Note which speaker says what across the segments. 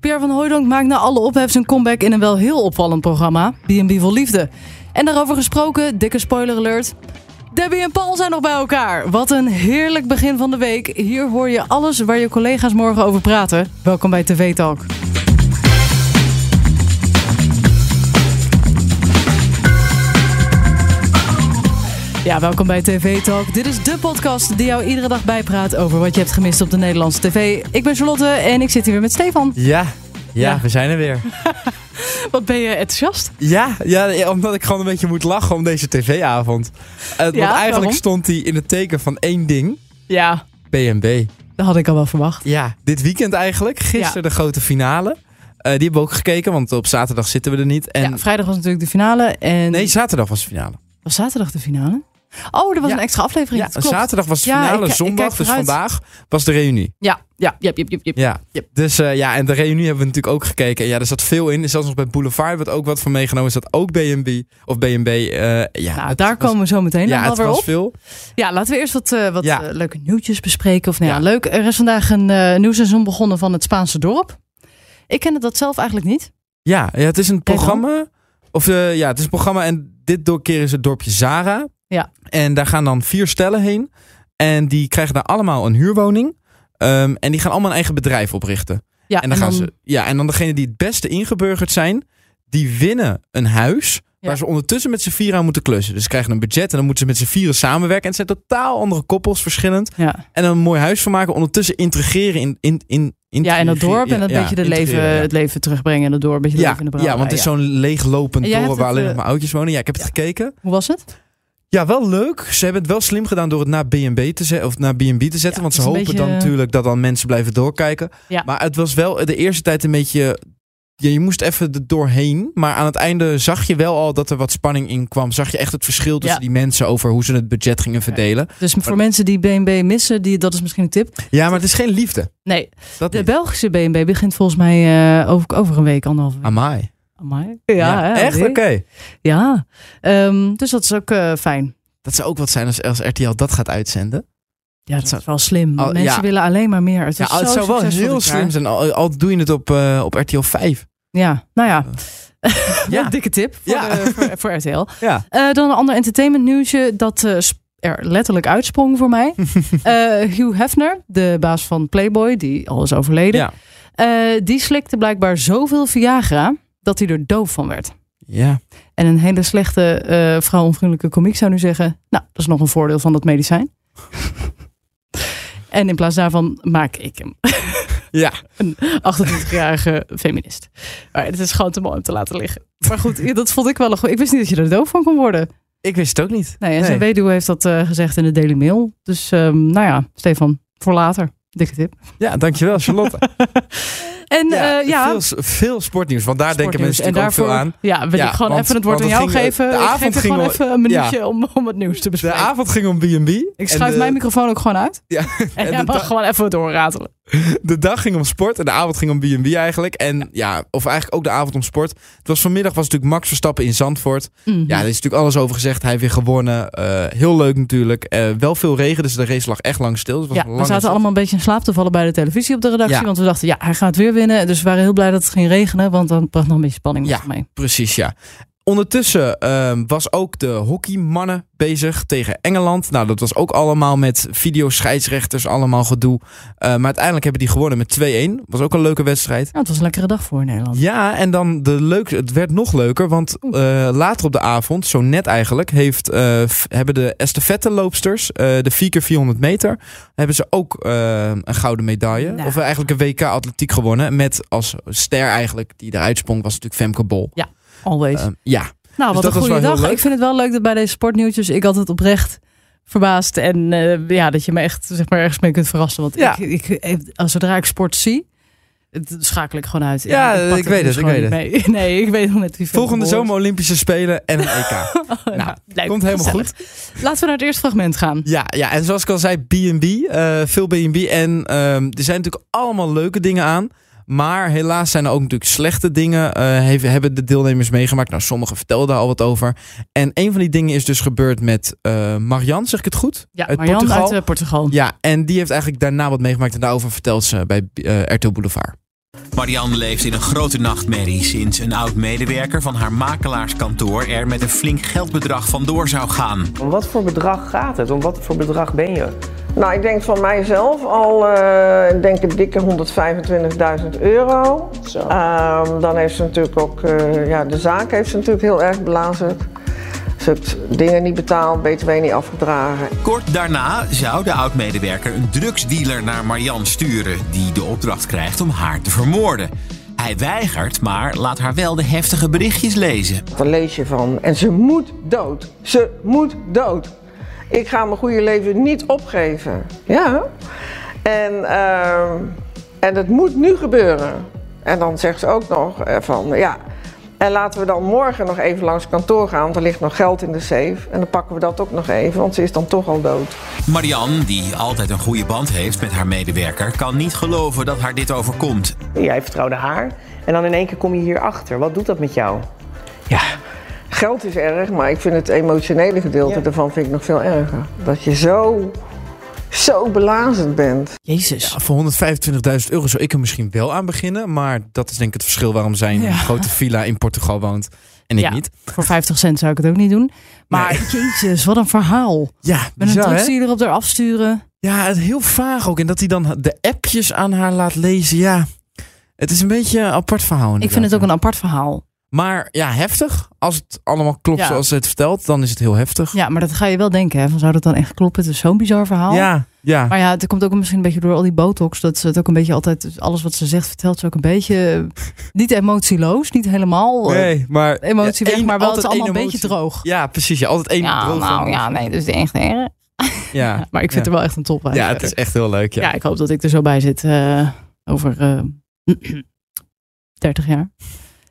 Speaker 1: Pierre van Hooydonk maakt na alle ophef zijn comeback in een wel heel opvallend programma, B&B voor Liefde. En daarover gesproken, dikke spoiler alert, Debbie en Paul zijn nog bij elkaar. Wat een heerlijk begin van de week. Hier hoor je alles waar je collega's morgen over praten. Welkom bij TV Talk. Ja, welkom bij TV Talk. Dit is de podcast die jou iedere dag bijpraat over wat je hebt gemist op de Nederlandse tv. Ik ben Charlotte en ik zit hier weer met Stefan.
Speaker 2: Ja, ja,
Speaker 1: Ja.
Speaker 2: we zijn er weer.
Speaker 1: Wat ben je enthousiast?
Speaker 2: Ja, ja, ja, omdat ik gewoon een beetje moet lachen om deze tv-avond. Eh, want
Speaker 1: Ja,
Speaker 2: eigenlijk
Speaker 1: waarom?
Speaker 2: stond hij in het teken van één ding.
Speaker 1: Ja,
Speaker 2: BNB.
Speaker 1: dat had ik al wel verwacht.
Speaker 2: Ja, dit weekend eigenlijk. Gisteren de grote finale. Eh, die hebben we ook gekeken, want op zaterdag zitten we er niet. En,
Speaker 1: ja, vrijdag was natuurlijk de finale en
Speaker 2: Nee, zaterdag was de finale.
Speaker 1: was zaterdag de finale. Oh, er was
Speaker 2: Ja.
Speaker 1: een extra aflevering.
Speaker 2: Ja,
Speaker 1: dat klopt.
Speaker 2: zaterdag was de
Speaker 1: Ja,
Speaker 2: finale.
Speaker 1: ik ki- ik
Speaker 2: zondag,
Speaker 1: kijk
Speaker 2: dus
Speaker 1: vooruit.
Speaker 2: vandaag, was de reunie.
Speaker 1: Ja, ja, ja, ja, ja, ja.
Speaker 2: Ja.
Speaker 1: Yep.
Speaker 2: Dus eh, ja, en de reunie hebben we natuurlijk ook gekeken. En ja, er zat veel in. Zelfs nog bij Boulevard werd ook wat van meegenomen. Er zat ook BNB. Of BNB. eh, ja,
Speaker 1: Nou,
Speaker 2: het
Speaker 1: daar
Speaker 2: was-
Speaker 1: komen we zo meteen
Speaker 2: ja,
Speaker 1: nog wel
Speaker 2: het
Speaker 1: weer
Speaker 2: was
Speaker 1: op.
Speaker 2: veel.
Speaker 1: Ja, laten we eerst wat, eh, wat
Speaker 2: Ja.
Speaker 1: eh, leuke nieuwtjes bespreken. Of nou ja,
Speaker 2: Ja.
Speaker 1: leuk. Er is vandaag een eh, nieuw seizoen begonnen van het Spaanse dorp. Ik kende dat zelf eigenlijk niet.
Speaker 2: Ja, ja, het is een
Speaker 1: dan?
Speaker 2: programma. Of eh, ja, het is een programma. En dit do- keer is het dorpje Zara.
Speaker 1: Ja.
Speaker 2: En daar gaan dan vier stellen heen. En die krijgen daar allemaal een huurwoning. Ehm, en die gaan allemaal een eigen bedrijf oprichten.
Speaker 1: Ja,
Speaker 2: en, dan gaan ze, ja, en dan degene die het beste ingeburgerd zijn, die winnen een huis.
Speaker 1: Ja.
Speaker 2: Waar ze ondertussen met z'n vier aan moeten klussen. Dus ze krijgen een budget en dan moeten ze met z'n vieren samenwerken. En het zijn totaal andere koppels, verschillend.
Speaker 1: Ja.
Speaker 2: En dan een mooi huis van maken. Ondertussen integreren in, in, in,
Speaker 1: ja, en dat
Speaker 2: intrigeren-
Speaker 1: dorp en dat
Speaker 2: ja,
Speaker 1: beetje de
Speaker 2: integreren,
Speaker 1: leven,
Speaker 2: ja.
Speaker 1: het leven terugbrengen en dat dorp. Een beetje leven in de
Speaker 2: ja,
Speaker 1: brouwerij,
Speaker 2: want het is zo'n leeglopend
Speaker 1: En jij
Speaker 2: dorp
Speaker 1: hebt
Speaker 2: waar
Speaker 1: het,
Speaker 2: alleen
Speaker 1: eh,
Speaker 2: nog maar oudjes wonen. Ja, ik heb het gekeken.
Speaker 1: Hoe was het?
Speaker 2: Ja, wel leuk. Ze hebben het wel slim gedaan door het naar BNB te zetten. Of naar BNB te zetten.
Speaker 1: Ja,
Speaker 2: want ze
Speaker 1: het is een
Speaker 2: hopen dan
Speaker 1: beetje-
Speaker 2: natuurlijk dat dan mensen blijven doorkijken.
Speaker 1: Ja.
Speaker 2: Maar het was wel de eerste tijd een beetje. Ja, je moest even er doorheen. Maar aan het einde zag je wel al dat er wat spanning in kwam. Zag je echt het verschil tussen
Speaker 1: Ja.
Speaker 2: die mensen over hoe ze het budget gingen verdelen.
Speaker 1: Dus voor mensen die BNB missen, die, dat is misschien een tip.
Speaker 2: Ja, maar het is geen liefde.
Speaker 1: Nee,
Speaker 2: Dat
Speaker 1: de
Speaker 2: niet.
Speaker 1: Belgische BNB begint volgens mij eh, over, over een week, anderhalve week.
Speaker 2: Amai.
Speaker 1: Amai. Ja, hè,
Speaker 2: echt? Oké.
Speaker 1: alweer. Ja, Ehm, dus dat is ook eh, fijn.
Speaker 2: Dat zou ook wat zijn als, als RTL dat gaat uitzenden.
Speaker 1: Ja, dat is wel slim.
Speaker 2: Al-
Speaker 1: Mensen
Speaker 2: Oh, ja.
Speaker 1: willen alleen maar meer. Het,
Speaker 2: Ja, oh,
Speaker 1: is zo
Speaker 2: het zou wel
Speaker 1: succesvol
Speaker 2: heel
Speaker 1: dit jaar.
Speaker 2: slim zijn, al, al doe je het op, eh, op RTL 5.
Speaker 1: Ja, nou ja.
Speaker 2: Ja.
Speaker 1: Een dikke tip voor,
Speaker 2: Ja.
Speaker 1: de- voor, voor RTL.
Speaker 2: Ja.
Speaker 1: Eh, dan een ander entertainment nieuwtje dat eh, sp- er letterlijk uitsprong voor mij. Eh, Hugh Hefner, de baas van Playboy, die al is overleden.
Speaker 2: Ja.
Speaker 1: eh, die slikte blijkbaar zoveel Viagra dat hij er doof van werd.
Speaker 2: ja.
Speaker 1: En een hele slechte eh vrouwonvriendelijke komiek zou nu zeggen... nou, dat is nog een voordeel van dat medicijn. en in plaats daarvan maak ik hem.
Speaker 2: Ja.
Speaker 1: Een 28-jarige feminist. Maar het is gewoon te mooi om te laten liggen. Maar goed, ja, dat vond ik wel een goed. Ik wist niet dat je er doof van kon worden.
Speaker 2: Ik wist het ook niet.
Speaker 1: Nee, en zijn
Speaker 2: Nee.
Speaker 1: weduwe heeft dat eh, gezegd in de Daily Mail. Dus ehm, nou ja, Stefan, voor later. Dikke tip.
Speaker 2: Ja, dankjewel Charlotte.
Speaker 1: En ja, ja
Speaker 2: Veel, s- veel sportnieuws, want daar denken
Speaker 1: sportnieuws.
Speaker 2: mensen
Speaker 1: En
Speaker 2: natuurlijk ook veel aan.
Speaker 1: Ja, wil
Speaker 2: Ja,
Speaker 1: ik gewoon
Speaker 2: want-
Speaker 1: even het woord aan
Speaker 2: want
Speaker 1: jou
Speaker 2: het ging-
Speaker 1: geven.
Speaker 2: de
Speaker 1: ik geef
Speaker 2: avond
Speaker 1: je
Speaker 2: ging
Speaker 1: gewoon
Speaker 2: wel-
Speaker 1: even een minuutje om, om het nieuws te
Speaker 2: De
Speaker 1: bespreken.
Speaker 2: avond ging om B&B. en
Speaker 1: Ik schuif
Speaker 2: de-
Speaker 1: mijn microfoon ook gewoon uit.
Speaker 2: Ja,
Speaker 1: en
Speaker 2: en
Speaker 1: jij
Speaker 2: de
Speaker 1: mag
Speaker 2: dag-
Speaker 1: gewoon even doorratelen.
Speaker 2: De dag ging om sport en de avond ging om B&B eigenlijk. En ja, of eigenlijk ook de avond om sport. Het was vanmiddag was natuurlijk Max Verstappen in Zandvoort.
Speaker 1: Mhm.
Speaker 2: Ja, daar is natuurlijk alles over gezegd. Hij heeft weer gewonnen. Eh, heel leuk natuurlijk. Eh, wel veel regen, dus de race lag echt lang stil. Dus het was
Speaker 1: Ja,
Speaker 2: een
Speaker 1: we
Speaker 2: lange
Speaker 1: zaten
Speaker 2: zit.
Speaker 1: allemaal een beetje in slaap te vallen bij de televisie op de redactie.
Speaker 2: Ja.
Speaker 1: Want we dachten, ja, hij gaat weer winnen. Dus we waren heel blij dat het ging regenen. Want dan bracht nog een beetje spanning met
Speaker 2: Ja.
Speaker 1: zich mee.
Speaker 2: Precies, ja. Ondertussen ehm, was ook de hockeymannen bezig tegen Engeland. Nou, dat was ook allemaal met videoscheidsrechters, allemaal gedoe. Eh, maar uiteindelijk hebben die gewonnen met 2-1. Was ook een leuke wedstrijd.
Speaker 1: Nou, het was een lekkere dag voor Nederland.
Speaker 2: Ja, en dan de leuk, het werd nog leuker, want eh, later op de avond, zo net eigenlijk, heeft, eh, f- hebben de estafette-loopsters, eh, de 4x400 meter, hebben ze ook eh, een gouden medaille.
Speaker 1: Nou.
Speaker 2: Of eigenlijk een WK atletiek gewonnen, met als ster eigenlijk, die eruit sprong, was natuurlijk Femke Bol.
Speaker 1: Always.
Speaker 2: Ehm, ja,
Speaker 1: nou, wat
Speaker 2: dat
Speaker 1: een
Speaker 2: was
Speaker 1: goede
Speaker 2: wel heel
Speaker 1: dag.
Speaker 2: leuk.
Speaker 1: Ik vind het wel leuk dat bij deze sportnieuwtjes ik altijd oprecht verbaasd. En eh, ja, dat je me echt zeg maar, ergens mee kunt verrassen. Want
Speaker 2: Ja.
Speaker 1: ik, ik, als zodra ik sport zie, het schakel ik gewoon uit.
Speaker 2: Ja,
Speaker 1: pak
Speaker 2: ik
Speaker 1: het
Speaker 2: weet
Speaker 1: dus
Speaker 2: het, ik
Speaker 1: gewoon
Speaker 2: weet
Speaker 1: niet mee. Nee, ik weet nog net wie veel
Speaker 2: Volgende
Speaker 1: gehoord.
Speaker 2: zomer Olympische Spelen en een EK.
Speaker 1: Oh,
Speaker 2: Nou,
Speaker 1: leuk.
Speaker 2: komt helemaal
Speaker 1: Gezellig. Laten we naar het eerste fragment gaan.
Speaker 2: ja, ja, en zoals ik al zei, B&B, eh, veel B&B. En ehm, er zijn natuurlijk allemaal leuke dingen aan. Maar helaas zijn er ook natuurlijk slechte dingen. eh, heeft- hebben de deelnemers meegemaakt. Nou, sommigen vertelden al wat over. En een van die dingen is dus gebeurd met eh Marianne, zeg ik het goed?
Speaker 1: Ja,
Speaker 2: Uit
Speaker 1: Marianne
Speaker 2: Portugal.
Speaker 1: uit eh, Portugal.
Speaker 2: Ja, en die heeft eigenlijk daarna wat meegemaakt. En daarover vertelt ze bij eh, RTL Boulevard.
Speaker 3: Marianne leeft in een grote nachtmerrie sinds een oud medewerker van haar makelaarskantoor er met een flink geldbedrag vandoor zou gaan.
Speaker 4: Om wat voor bedrag gaat het? Om wat voor bedrag ben je?
Speaker 5: Nou, ik denk van mijzelf al, eh, ik denk ik, dikke 125.000 euro.
Speaker 4: Zo.
Speaker 5: Ehm, dan heeft ze natuurlijk ook, eh, ja, de zaak heeft ze natuurlijk heel erg belazerd. Ze heeft dingen niet betaald, btw niet afgedragen.
Speaker 3: Kort daarna zou de oud-medewerker een drugsdealer naar Marianne sturen, die de opdracht krijgt om haar te vermoorden. Hij weigert, maar laat haar wel de heftige berichtjes lezen.
Speaker 5: Dan lees je van, en ze moet dood. Ze moet dood. Ik ga mijn goede leven niet opgeven. Ja. En, ehm, en het moet nu gebeuren. En dan zegt ze ook nog eh, van, ja. En laten we dan morgen nog even langs kantoor gaan, want er ligt nog geld in de safe. En dan pakken we dat ook nog even, want ze is dan toch al dood.
Speaker 3: Marianne, die altijd een goede band heeft met haar medewerker, kan niet geloven dat haar dit overkomt.
Speaker 4: Jij vertrouwde haar en dan in één keer kom je hierachter. Wat doet dat met jou?
Speaker 5: Ja. Geld is erg, maar ik vind het emotionele gedeelte
Speaker 4: Ja.
Speaker 5: daarvan vind ik nog veel erger. Dat je zo, zo belazend bent.
Speaker 1: Jezus.
Speaker 2: Ja, voor 125.000 euro zou ik er misschien wel aan beginnen. Maar dat is denk ik het verschil waarom zij in
Speaker 1: Ja.
Speaker 2: een grote villa in Portugal woont en ik
Speaker 1: Ja.
Speaker 2: niet.
Speaker 1: Voor 50 cent zou ik het ook niet doen. Maar jezus, wat een verhaal.
Speaker 2: Ja,
Speaker 1: Met een
Speaker 2: bizar, hè?
Speaker 1: drugsdealer op haar afsturen.
Speaker 2: Ja, het heel vaag ook. En dat hij dan de appjes aan haar laat lezen. Ja, het is een beetje een apart verhaal.
Speaker 1: Ik vind het ook
Speaker 2: inderdaad.
Speaker 1: een apart verhaal.
Speaker 2: Maar ja, heftig. Als het allemaal klopt
Speaker 1: Ja.
Speaker 2: zoals ze het vertelt, dan is het heel heftig.
Speaker 1: Ja, maar dat ga je wel denken. Hè? Van, zou dat dan echt kloppen? Het is zo'n bizar verhaal.
Speaker 2: ja. ja.
Speaker 1: Maar ja, het komt ook misschien een beetje door al die botox. Dat ze het ook een beetje altijd, alles wat ze zegt, vertelt ze ook een beetje eh, niet emotieloos. Niet helemaal eh,
Speaker 2: nee, maar...
Speaker 1: emotie
Speaker 2: Ja,
Speaker 1: weg,
Speaker 2: één-
Speaker 1: maar wel het
Speaker 2: altijd
Speaker 1: is allemaal een
Speaker 2: één
Speaker 1: beetje
Speaker 2: emotie.
Speaker 1: droog.
Speaker 2: Ja, precies. Ja, altijd één droog van-
Speaker 1: nee, dus echt erg.
Speaker 2: Ja.
Speaker 1: Maar ik vind
Speaker 2: ja.
Speaker 1: het wel echt een top.
Speaker 2: Ja, het is echt heel leuk. Ja.
Speaker 1: ja. ik hoop dat ik er zo bij zit eh, over eh, 30 jaar.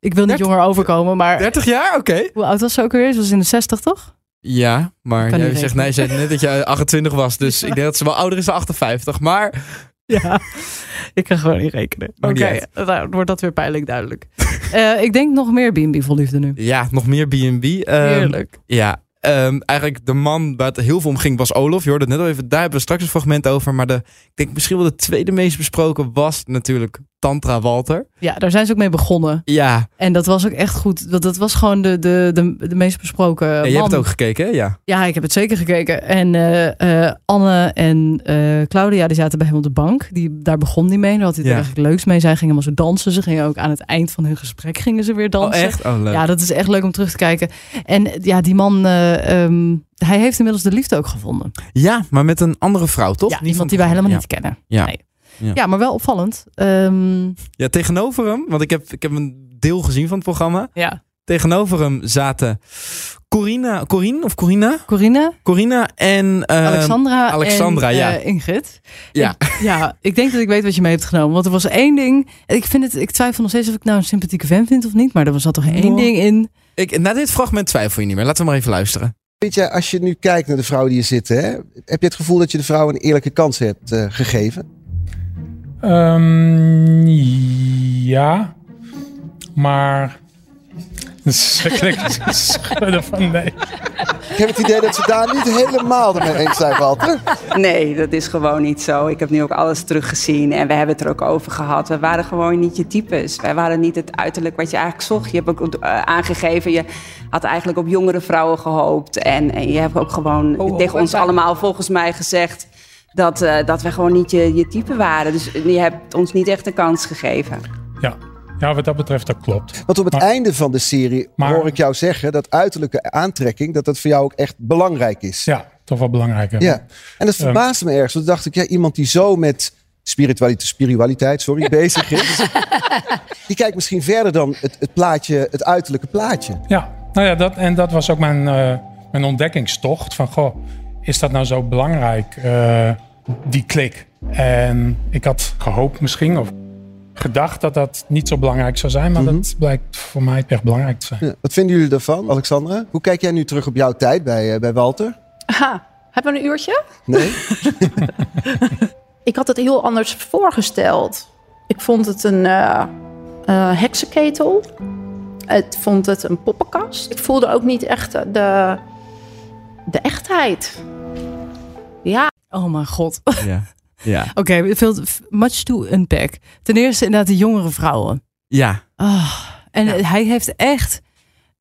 Speaker 1: Ik wil niet
Speaker 2: 30?
Speaker 1: jonger overkomen, maar
Speaker 2: 30 jaar? Oké.
Speaker 1: hoe oud was ze ook weer? Ze was in de 60, toch?
Speaker 2: Ja, maar
Speaker 1: Kan
Speaker 2: jij
Speaker 1: niet
Speaker 2: zegt,
Speaker 1: rekenen.
Speaker 2: nee, je zei net dat jij 28 was. Dus ik denk dat ze wel ouder is dan 58. Maar
Speaker 1: Ja, ik kan gewoon niet rekenen. Oké,
Speaker 2: Maakt niet uit.
Speaker 1: nou, wordt dat weer pijnlijk duidelijk. Eh, ik denk nog meer B&B voor liefde nu.
Speaker 2: ja, nog meer B&B. ehm,
Speaker 1: Heerlijk.
Speaker 2: Ja, ehm, eigenlijk de man waar het heel veel om ging was Olof. Je hoorde het net al even, daar hebben we straks een fragment over. Maar de, ik denk misschien wel de tweede meest besproken was natuurlijk Tantra Walter.
Speaker 1: Ja, daar zijn ze ook mee begonnen.
Speaker 2: Ja,
Speaker 1: En dat was ook echt goed. Dat, dat was gewoon de, de, de, de meest besproken
Speaker 2: en
Speaker 1: man.
Speaker 2: je hebt het ook gekeken, hè? Ja.
Speaker 1: Ja, ik heb het zeker gekeken. En eh, eh, Anne en eh, Claudia die zaten bij hem op de bank. Die, daar begon hij mee. Daar had hij het
Speaker 2: Ja.
Speaker 1: eigenlijk leuks mee. Zij gingen helemaal zo dansen. Ze gingen ook aan het eind van hun gesprek gingen ze weer
Speaker 2: Oh,
Speaker 1: dansen.
Speaker 2: echt? Oh, leuk.
Speaker 1: Ja, dat is echt leuk om terug te kijken. En eh, ja, die man, eh, ehm, hij heeft inmiddels de liefde ook gevonden.
Speaker 2: Ja, maar met een andere vrouw, toch?
Speaker 1: Ja,
Speaker 2: Niet van-
Speaker 1: iemand die wij helemaal
Speaker 2: ja.
Speaker 1: niet kennen.
Speaker 2: Ja.
Speaker 1: Nee.
Speaker 2: Ja.
Speaker 1: Ja. maar wel opvallend. Ehm,
Speaker 2: Ja, tegenover hem, want ik heb, ik heb een deel gezien van het programma.
Speaker 1: ja.
Speaker 2: Tegenover hem zaten Corina, Corine of Corina?
Speaker 1: Corine,
Speaker 2: Corina en... ehm,
Speaker 1: Alexandra,
Speaker 2: Alexandra,
Speaker 1: en,
Speaker 2: ja.
Speaker 1: eh, Ingrid.
Speaker 2: Ja.
Speaker 1: Ik, ja, ik denk dat ik weet wat je mee hebt genomen. Want er was één ding. Ik, vind het, ik twijfel nog steeds of ik nou een sympathieke fan vind of niet. Maar er zat toch één
Speaker 2: Nou.
Speaker 1: ding in.
Speaker 2: Ik, na dit fragment twijfel je niet meer. Laten we maar even luisteren.
Speaker 6: Weet je, als je nu kijkt naar de vrouwen die hier zitten, hè, heb je het gevoel dat je de vrouwen een eerlijke kans hebt eh, gegeven?
Speaker 7: Ehm, ja, maar. Ze knikt- ze schudden van nee.
Speaker 6: Ik heb het idee dat ze daar niet helemaal mee eens zijn, Walter.
Speaker 8: Nee, dat is gewoon niet zo. Ik heb nu ook alles teruggezien en we hebben het er ook over gehad. We waren gewoon niet je types. Wij waren niet het uiterlijk wat je eigenlijk zocht. Je hebt ook eh, aangegeven, je had eigenlijk op jongere vrouwen gehoopt. En, en je hebt ook gewoon tegen ons allemaal volgens mij gezegd dat, eh, dat wij gewoon niet je, je type waren. Dus je hebt ons niet echt een kans gegeven.
Speaker 7: Ja. ja, wat dat betreft, dat klopt.
Speaker 6: Want op het
Speaker 7: Maar-
Speaker 6: einde van de serie
Speaker 7: Maar-
Speaker 6: hoor ik jou zeggen dat uiterlijke aantrekking, dat dat voor jou ook echt belangrijk is.
Speaker 7: Ja, toch wel belangrijk. hè?
Speaker 6: Ja. En dat verbaasde me ergens. Want toen dacht ik, ja, iemand die zo met spiritualiteit, spiritualiteit sorry, bezig is, die kijkt misschien verder dan het, het plaatje, het uiterlijke plaatje.
Speaker 7: Ja, nou ja, dat, en dat was ook mijn, eh, mijn ontdekkingstocht. Van goh, is dat nou zo belangrijk, eh, die klik? En ik had gehoopt misschien, of gedacht dat dat niet zo belangrijk zou zijn. Maar dat blijkt voor mij echt belangrijk te zijn.
Speaker 6: Ja. Wat vinden jullie daarvan, Alexandra? Hoe kijk jij nu terug op jouw tijd bij, eh, bij Walter?
Speaker 9: Ha, hebben we een uurtje?
Speaker 6: Nee?
Speaker 9: Ik had het heel anders voorgesteld. Ik vond het een eh, eh, heksenketel. Ik vond het een poppenkast. Ik voelde ook niet echt de, de echtheid. Ja,
Speaker 1: Oh mijn god.
Speaker 2: Ja. Ja.
Speaker 1: Oké, veel much to unpack. Ten eerste inderdaad de jongere vrouwen.
Speaker 2: Ja.
Speaker 1: Ah, en hij heeft echt...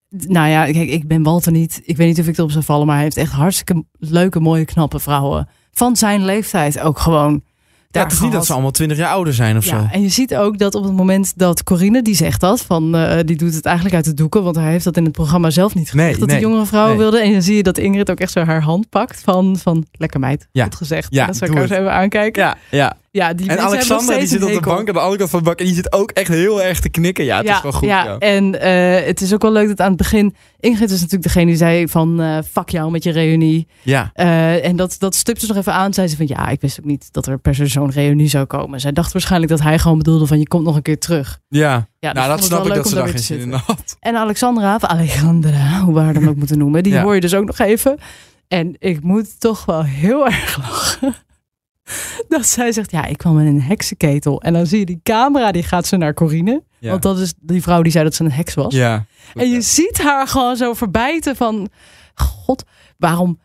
Speaker 1: Nou ja, kijk, ik ben Walter niet. Ik weet niet of ik erop zou vallen, maar hij heeft echt hartstikke leuke, mooie, knappe vrouwen. Van zijn leeftijd ook gewoon.
Speaker 2: Ja,
Speaker 1: daar
Speaker 2: het is niet dat
Speaker 1: gehad.
Speaker 2: ze allemaal twintig jaar ouder zijn of zo.
Speaker 1: Ja, en je ziet ook dat op het moment dat Corinne, die zegt dat, van, eh, die doet het eigenlijk uit de doeken, want hij heeft dat in het programma zelf niet gezegd,
Speaker 2: Nee,
Speaker 1: dat
Speaker 2: nee,
Speaker 1: die jongere vrouwen
Speaker 2: nee.
Speaker 1: wilde. En dan zie je dat Ingrid ook echt zo haar hand pakt van, van lekker meid,
Speaker 2: Ja.
Speaker 1: goed gezegd.
Speaker 2: Ja,
Speaker 1: dat zou ik
Speaker 2: doe
Speaker 1: haar zo even aankijken.
Speaker 2: Ja, ja.
Speaker 1: Ja, die
Speaker 2: En
Speaker 1: mensen hebben nog
Speaker 2: Alexander die
Speaker 1: steeds
Speaker 2: zit
Speaker 1: een
Speaker 2: op de
Speaker 1: hekel.
Speaker 2: bank aan de andere kant van de bank. En die zit ook echt heel erg te knikken. Ja, het is wel goed.
Speaker 1: ja.
Speaker 2: ja.
Speaker 1: en eh, het is ook wel leuk dat aan het begin... Ingrid is natuurlijk degene die zei van... eh fuck jou met je reunie.
Speaker 2: Ja.
Speaker 1: Eh, en dat, dat stipte ze nog even aan. Zei ze van ja, ik wist ook niet dat er per se zo'n reunie zou komen. Zij dacht waarschijnlijk dat hij gewoon bedoelde van je komt nog een keer terug.
Speaker 2: ja.
Speaker 1: Ja,
Speaker 2: nou,
Speaker 1: dus
Speaker 2: dat
Speaker 1: ik vond het wel leuk
Speaker 2: snap ik dat
Speaker 1: om
Speaker 2: ze
Speaker 1: daar weer
Speaker 2: daar geen
Speaker 1: te
Speaker 2: zin in
Speaker 1: zitten.
Speaker 2: had.
Speaker 1: En Alexandra, of Alejandra, hoe we haar dan ook moeten noemen, die
Speaker 2: Ja.
Speaker 1: hoor je dus ook nog even. En ik moet toch wel heel erg lachen. Dat zij zegt, ja, ik kwam in een heksenketel. En dan zie je die camera, die gaat ze naar Corine.
Speaker 2: Ja.
Speaker 1: Want dat is die vrouw die zei dat ze een heks was.
Speaker 2: Ja.
Speaker 1: En je ziet haar gewoon zo verbijten van... God, waarom...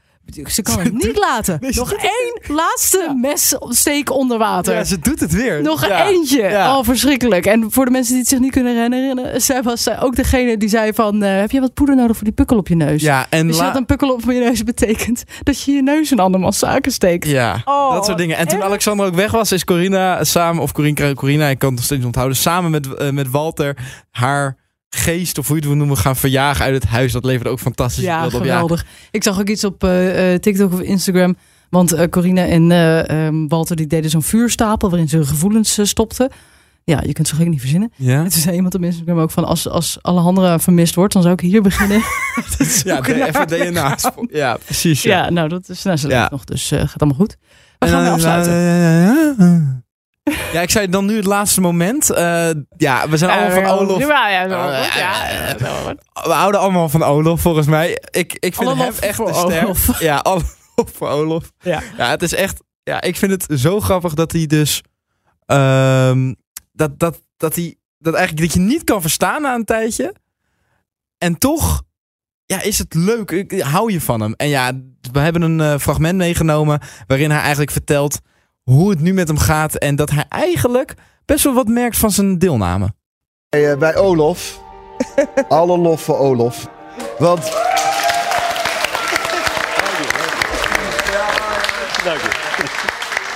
Speaker 1: Ze kan het niet laten.
Speaker 2: Nee, ze
Speaker 1: Nog
Speaker 2: doet
Speaker 1: één laatste messteek onder water.
Speaker 2: Ja, ze doet het weer.
Speaker 1: Nog
Speaker 2: Ja.
Speaker 1: eentje.
Speaker 2: Ja.
Speaker 1: Al verschrikkelijk. En voor de mensen die het zich niet kunnen herinneren. Zij was eh, ook degene die zei van... eh, heb je wat poeder nodig voor die pukkel op je neus?
Speaker 2: Ja, en
Speaker 1: Dus je
Speaker 2: la-
Speaker 1: dat een pukkel op je neus betekent... dat je je neus in andermans zaken steekt.
Speaker 2: Ja,
Speaker 1: Oh,
Speaker 2: dat soort dingen. En toen
Speaker 1: echt?
Speaker 2: Alexander ook weg was, is Corina samen, of Corina, Corina ik kan het nog steeds niet onthouden, samen met, eh, met Walter haar geest, of hoe je het wil noemen, gaan verjagen uit het huis. Dat leverde ook fantastisch
Speaker 1: Ja,
Speaker 2: beeld op.
Speaker 1: geweldig. Ik zag ook iets op eh, eh, TikTok of Instagram. Want eh Corina en eh, ehm, Walter die deden zo'n vuurstapel... waarin ze hun gevoelens eh, stopten. Ja, je kunt ze gek niet verzinnen.
Speaker 2: Ja,
Speaker 1: En toen zei iemand op Instagram ook van... als, als Alejandra vermist wordt, dan zou ik hier beginnen.
Speaker 2: ja de, even DNA. Ja, precies.
Speaker 1: Ja, nou, dat is nou, ze
Speaker 2: Ja.
Speaker 1: leeft nog, dus eh, gaat allemaal goed. We gaan
Speaker 2: En,
Speaker 1: weer
Speaker 2: eh,
Speaker 1: afsluiten.
Speaker 2: Ja, ik zei dan nu het laatste moment. Eh, ja, we zijn allemaal van Olof.
Speaker 1: Ja, ja, ja,
Speaker 2: Eh,
Speaker 1: ja,
Speaker 2: eh,
Speaker 1: ja, ja.
Speaker 2: We houden allemaal van Olof, volgens mij. Ik, ik vind
Speaker 1: Olof
Speaker 2: hem echt
Speaker 1: voor
Speaker 2: een ster.
Speaker 1: Olof.
Speaker 2: Ja, Olof voor Olof.
Speaker 1: Ja.
Speaker 2: het is echt... Ja, ik vind het zo grappig dat hij dus... ehm, dat, dat, dat hij... Dat eigenlijk dat je niet kan verstaan na een tijdje. En toch... Ja, is het leuk. Ik, ik hou je van hem. En ja, we hebben een eh, fragment meegenomen... waarin hij eigenlijk vertelt hoe het nu met hem gaat... en dat hij eigenlijk best wel wat merkt van zijn deelname.
Speaker 6: Bij, eh, bij Olof. Alle lof voor Olof. Want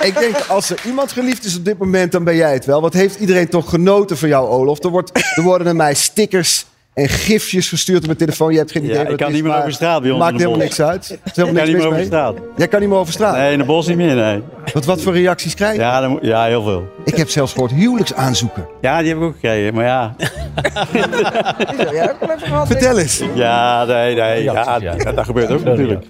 Speaker 6: Ik denk, als er iemand geliefd is op dit moment, dan ben jij het wel. Want heeft iedereen toch genoten van jou, Olof? Er, wordt, er worden naar mij stickers en gifjes gestuurd op mijn telefoon. Je hebt geen idee
Speaker 10: Ja,
Speaker 6: wat
Speaker 10: ik kan
Speaker 6: het is,
Speaker 10: niet meer
Speaker 6: maar
Speaker 10: over straat bij ons
Speaker 6: Maakt
Speaker 10: in de
Speaker 6: helemaal
Speaker 10: bos.
Speaker 6: niks uit. Er is
Speaker 10: Ik
Speaker 6: helemaal
Speaker 10: kan niet
Speaker 6: niks
Speaker 10: meer
Speaker 6: mis
Speaker 10: over
Speaker 6: mee.
Speaker 10: straat.
Speaker 6: Jij kan niet meer over straat.
Speaker 10: Nee, in de bos niet meer, nee.
Speaker 6: Wat, wat voor reacties krijg je?
Speaker 10: Ja, dan moet- ja, heel veel.
Speaker 6: Ik heb zelfs gehoord huwelijksaanzoeken.
Speaker 10: Ja, die heb ik ook gekregen, maar ja.
Speaker 5: Ja, ook wel even gehad, denk ik.
Speaker 6: Vertel eens. Nou,
Speaker 10: Ja, nee, nee. Ja, dat, dat gebeurt ook natuurlijk.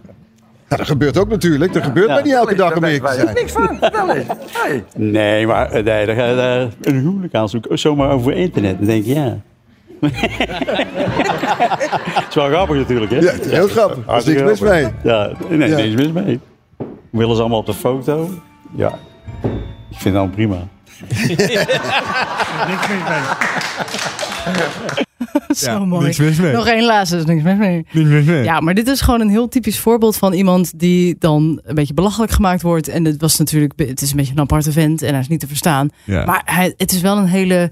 Speaker 6: dat gebeurt ook natuurlijk. Er gebeurt
Speaker 10: Ja.
Speaker 6: maar niet elke dag om eerlijk te zijn.
Speaker 5: Niks van, vertel eens. Hey.
Speaker 10: Nee, maar eh, nee, daar, ga- daar, een huwelijk aanzoeken, zomaar over internet. Dan denk je, ja. Het is wel grappig natuurlijk, hè?
Speaker 6: Ja, het is heel grappig. Er is niks
Speaker 10: Hartstikke
Speaker 6: mis mee.
Speaker 10: grappig. Ja, nee,
Speaker 6: Ja.
Speaker 10: niks mis mee. Willen ze allemaal op de foto? Ja. Ik vind dat prima.
Speaker 1: Zo mooi.
Speaker 2: niks mis mee.
Speaker 1: Nog één laatste, dus niks mis mee. Ja, maar dit is gewoon een heel typisch voorbeeld van iemand die dan een beetje belachelijk gemaakt wordt. En het was natuurlijk, het is een beetje een aparte vent en hij is niet te verstaan.
Speaker 2: Ja.
Speaker 1: Maar hij, het is wel een hele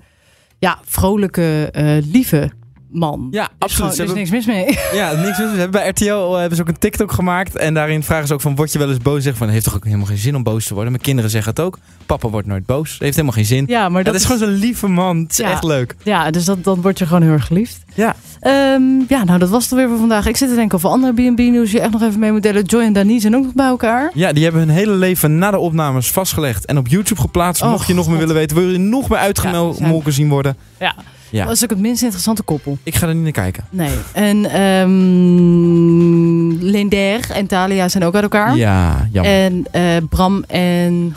Speaker 1: ja, vrolijke, eh, lieve man.
Speaker 2: Ja,
Speaker 1: Er is gewoon-
Speaker 2: absoluut. Ze
Speaker 1: Er is niks
Speaker 2: hebben-
Speaker 1: mis mee.
Speaker 2: Ja, niks mis. We hebben bij RTL eh, hebben ze ook een TikTok gemaakt. En daarin vragen ze ook van, word je wel eens boos? Zeg van, heeft toch ook helemaal geen zin om boos te worden? Mijn kinderen zeggen het ook. Papa wordt nooit boos. Heeft helemaal geen zin.
Speaker 1: Ja, maar
Speaker 2: dat, is gewoon zo'n lieve man. Het is
Speaker 1: Ja.
Speaker 2: echt leuk.
Speaker 1: Ja, dus dat, dan word je gewoon heel erg geliefd.
Speaker 2: Ja.
Speaker 1: Ehm, ja, nou dat was het weer voor vandaag. Ik zit te denken of andere B&B-nieuws je echt nog even mee moet delen. Joy en Dani zijn ook nog bij elkaar.
Speaker 2: Ja, die hebben hun hele leven na de opnames vastgelegd. En op YouTube geplaatst.
Speaker 1: Oh,
Speaker 2: Mocht je nog meer
Speaker 1: God.
Speaker 2: willen weten, wil je nog meer
Speaker 1: Ja, zijn-
Speaker 2: uitgemolken zien worden?
Speaker 1: Ja.
Speaker 2: Ja.
Speaker 1: Dat is ook het minst interessante koppel.
Speaker 2: Ik ga er niet naar kijken.
Speaker 1: Nee. En ehm Linder en Thalia zijn ook uit elkaar.
Speaker 2: Ja, jammer.
Speaker 1: En eh, Bram en...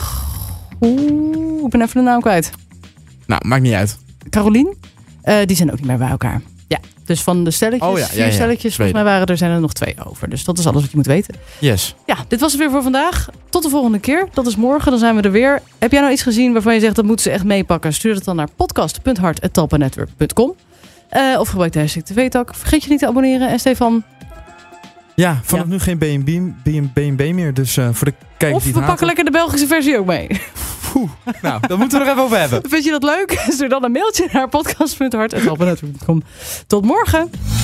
Speaker 1: Oeh, ik ben even de naam kwijt.
Speaker 2: nou, maakt niet uit.
Speaker 1: Carolien. eh, die zijn ook niet meer bij elkaar. Ja. Dus van de stelletjes,
Speaker 2: Oh ja, ja,
Speaker 1: vier
Speaker 2: ja.
Speaker 1: stelletjes, volgens mij waren er, zijn er nog twee over. Dus dat is alles wat je moet weten.
Speaker 2: Yes.
Speaker 1: Ja, dit was het weer voor vandaag. Tot de volgende keer. Dat is morgen, dan zijn we er weer. Heb jij nou iets gezien waarvan je zegt dat moeten ze echt meepakken? Stuur het dan naar eh, podcast.hart.talpanetwerk.com Eh, Of gebruik de hashtag TV-tak. Vergeet je niet te abonneren. En Stefan,
Speaker 2: Ja, vanaf nu geen B&B B&B meer. Dus eh, voor de kijkers
Speaker 1: Of
Speaker 2: die
Speaker 1: we
Speaker 2: het
Speaker 1: pakken
Speaker 2: haten.
Speaker 1: lekker de Belgische versie ook mee.
Speaker 2: Nou, daar moeten we nog even over hebben.
Speaker 1: Vind je dat leuk? Stuur dan een mailtje naar podcast.hart.com. Tot morgen!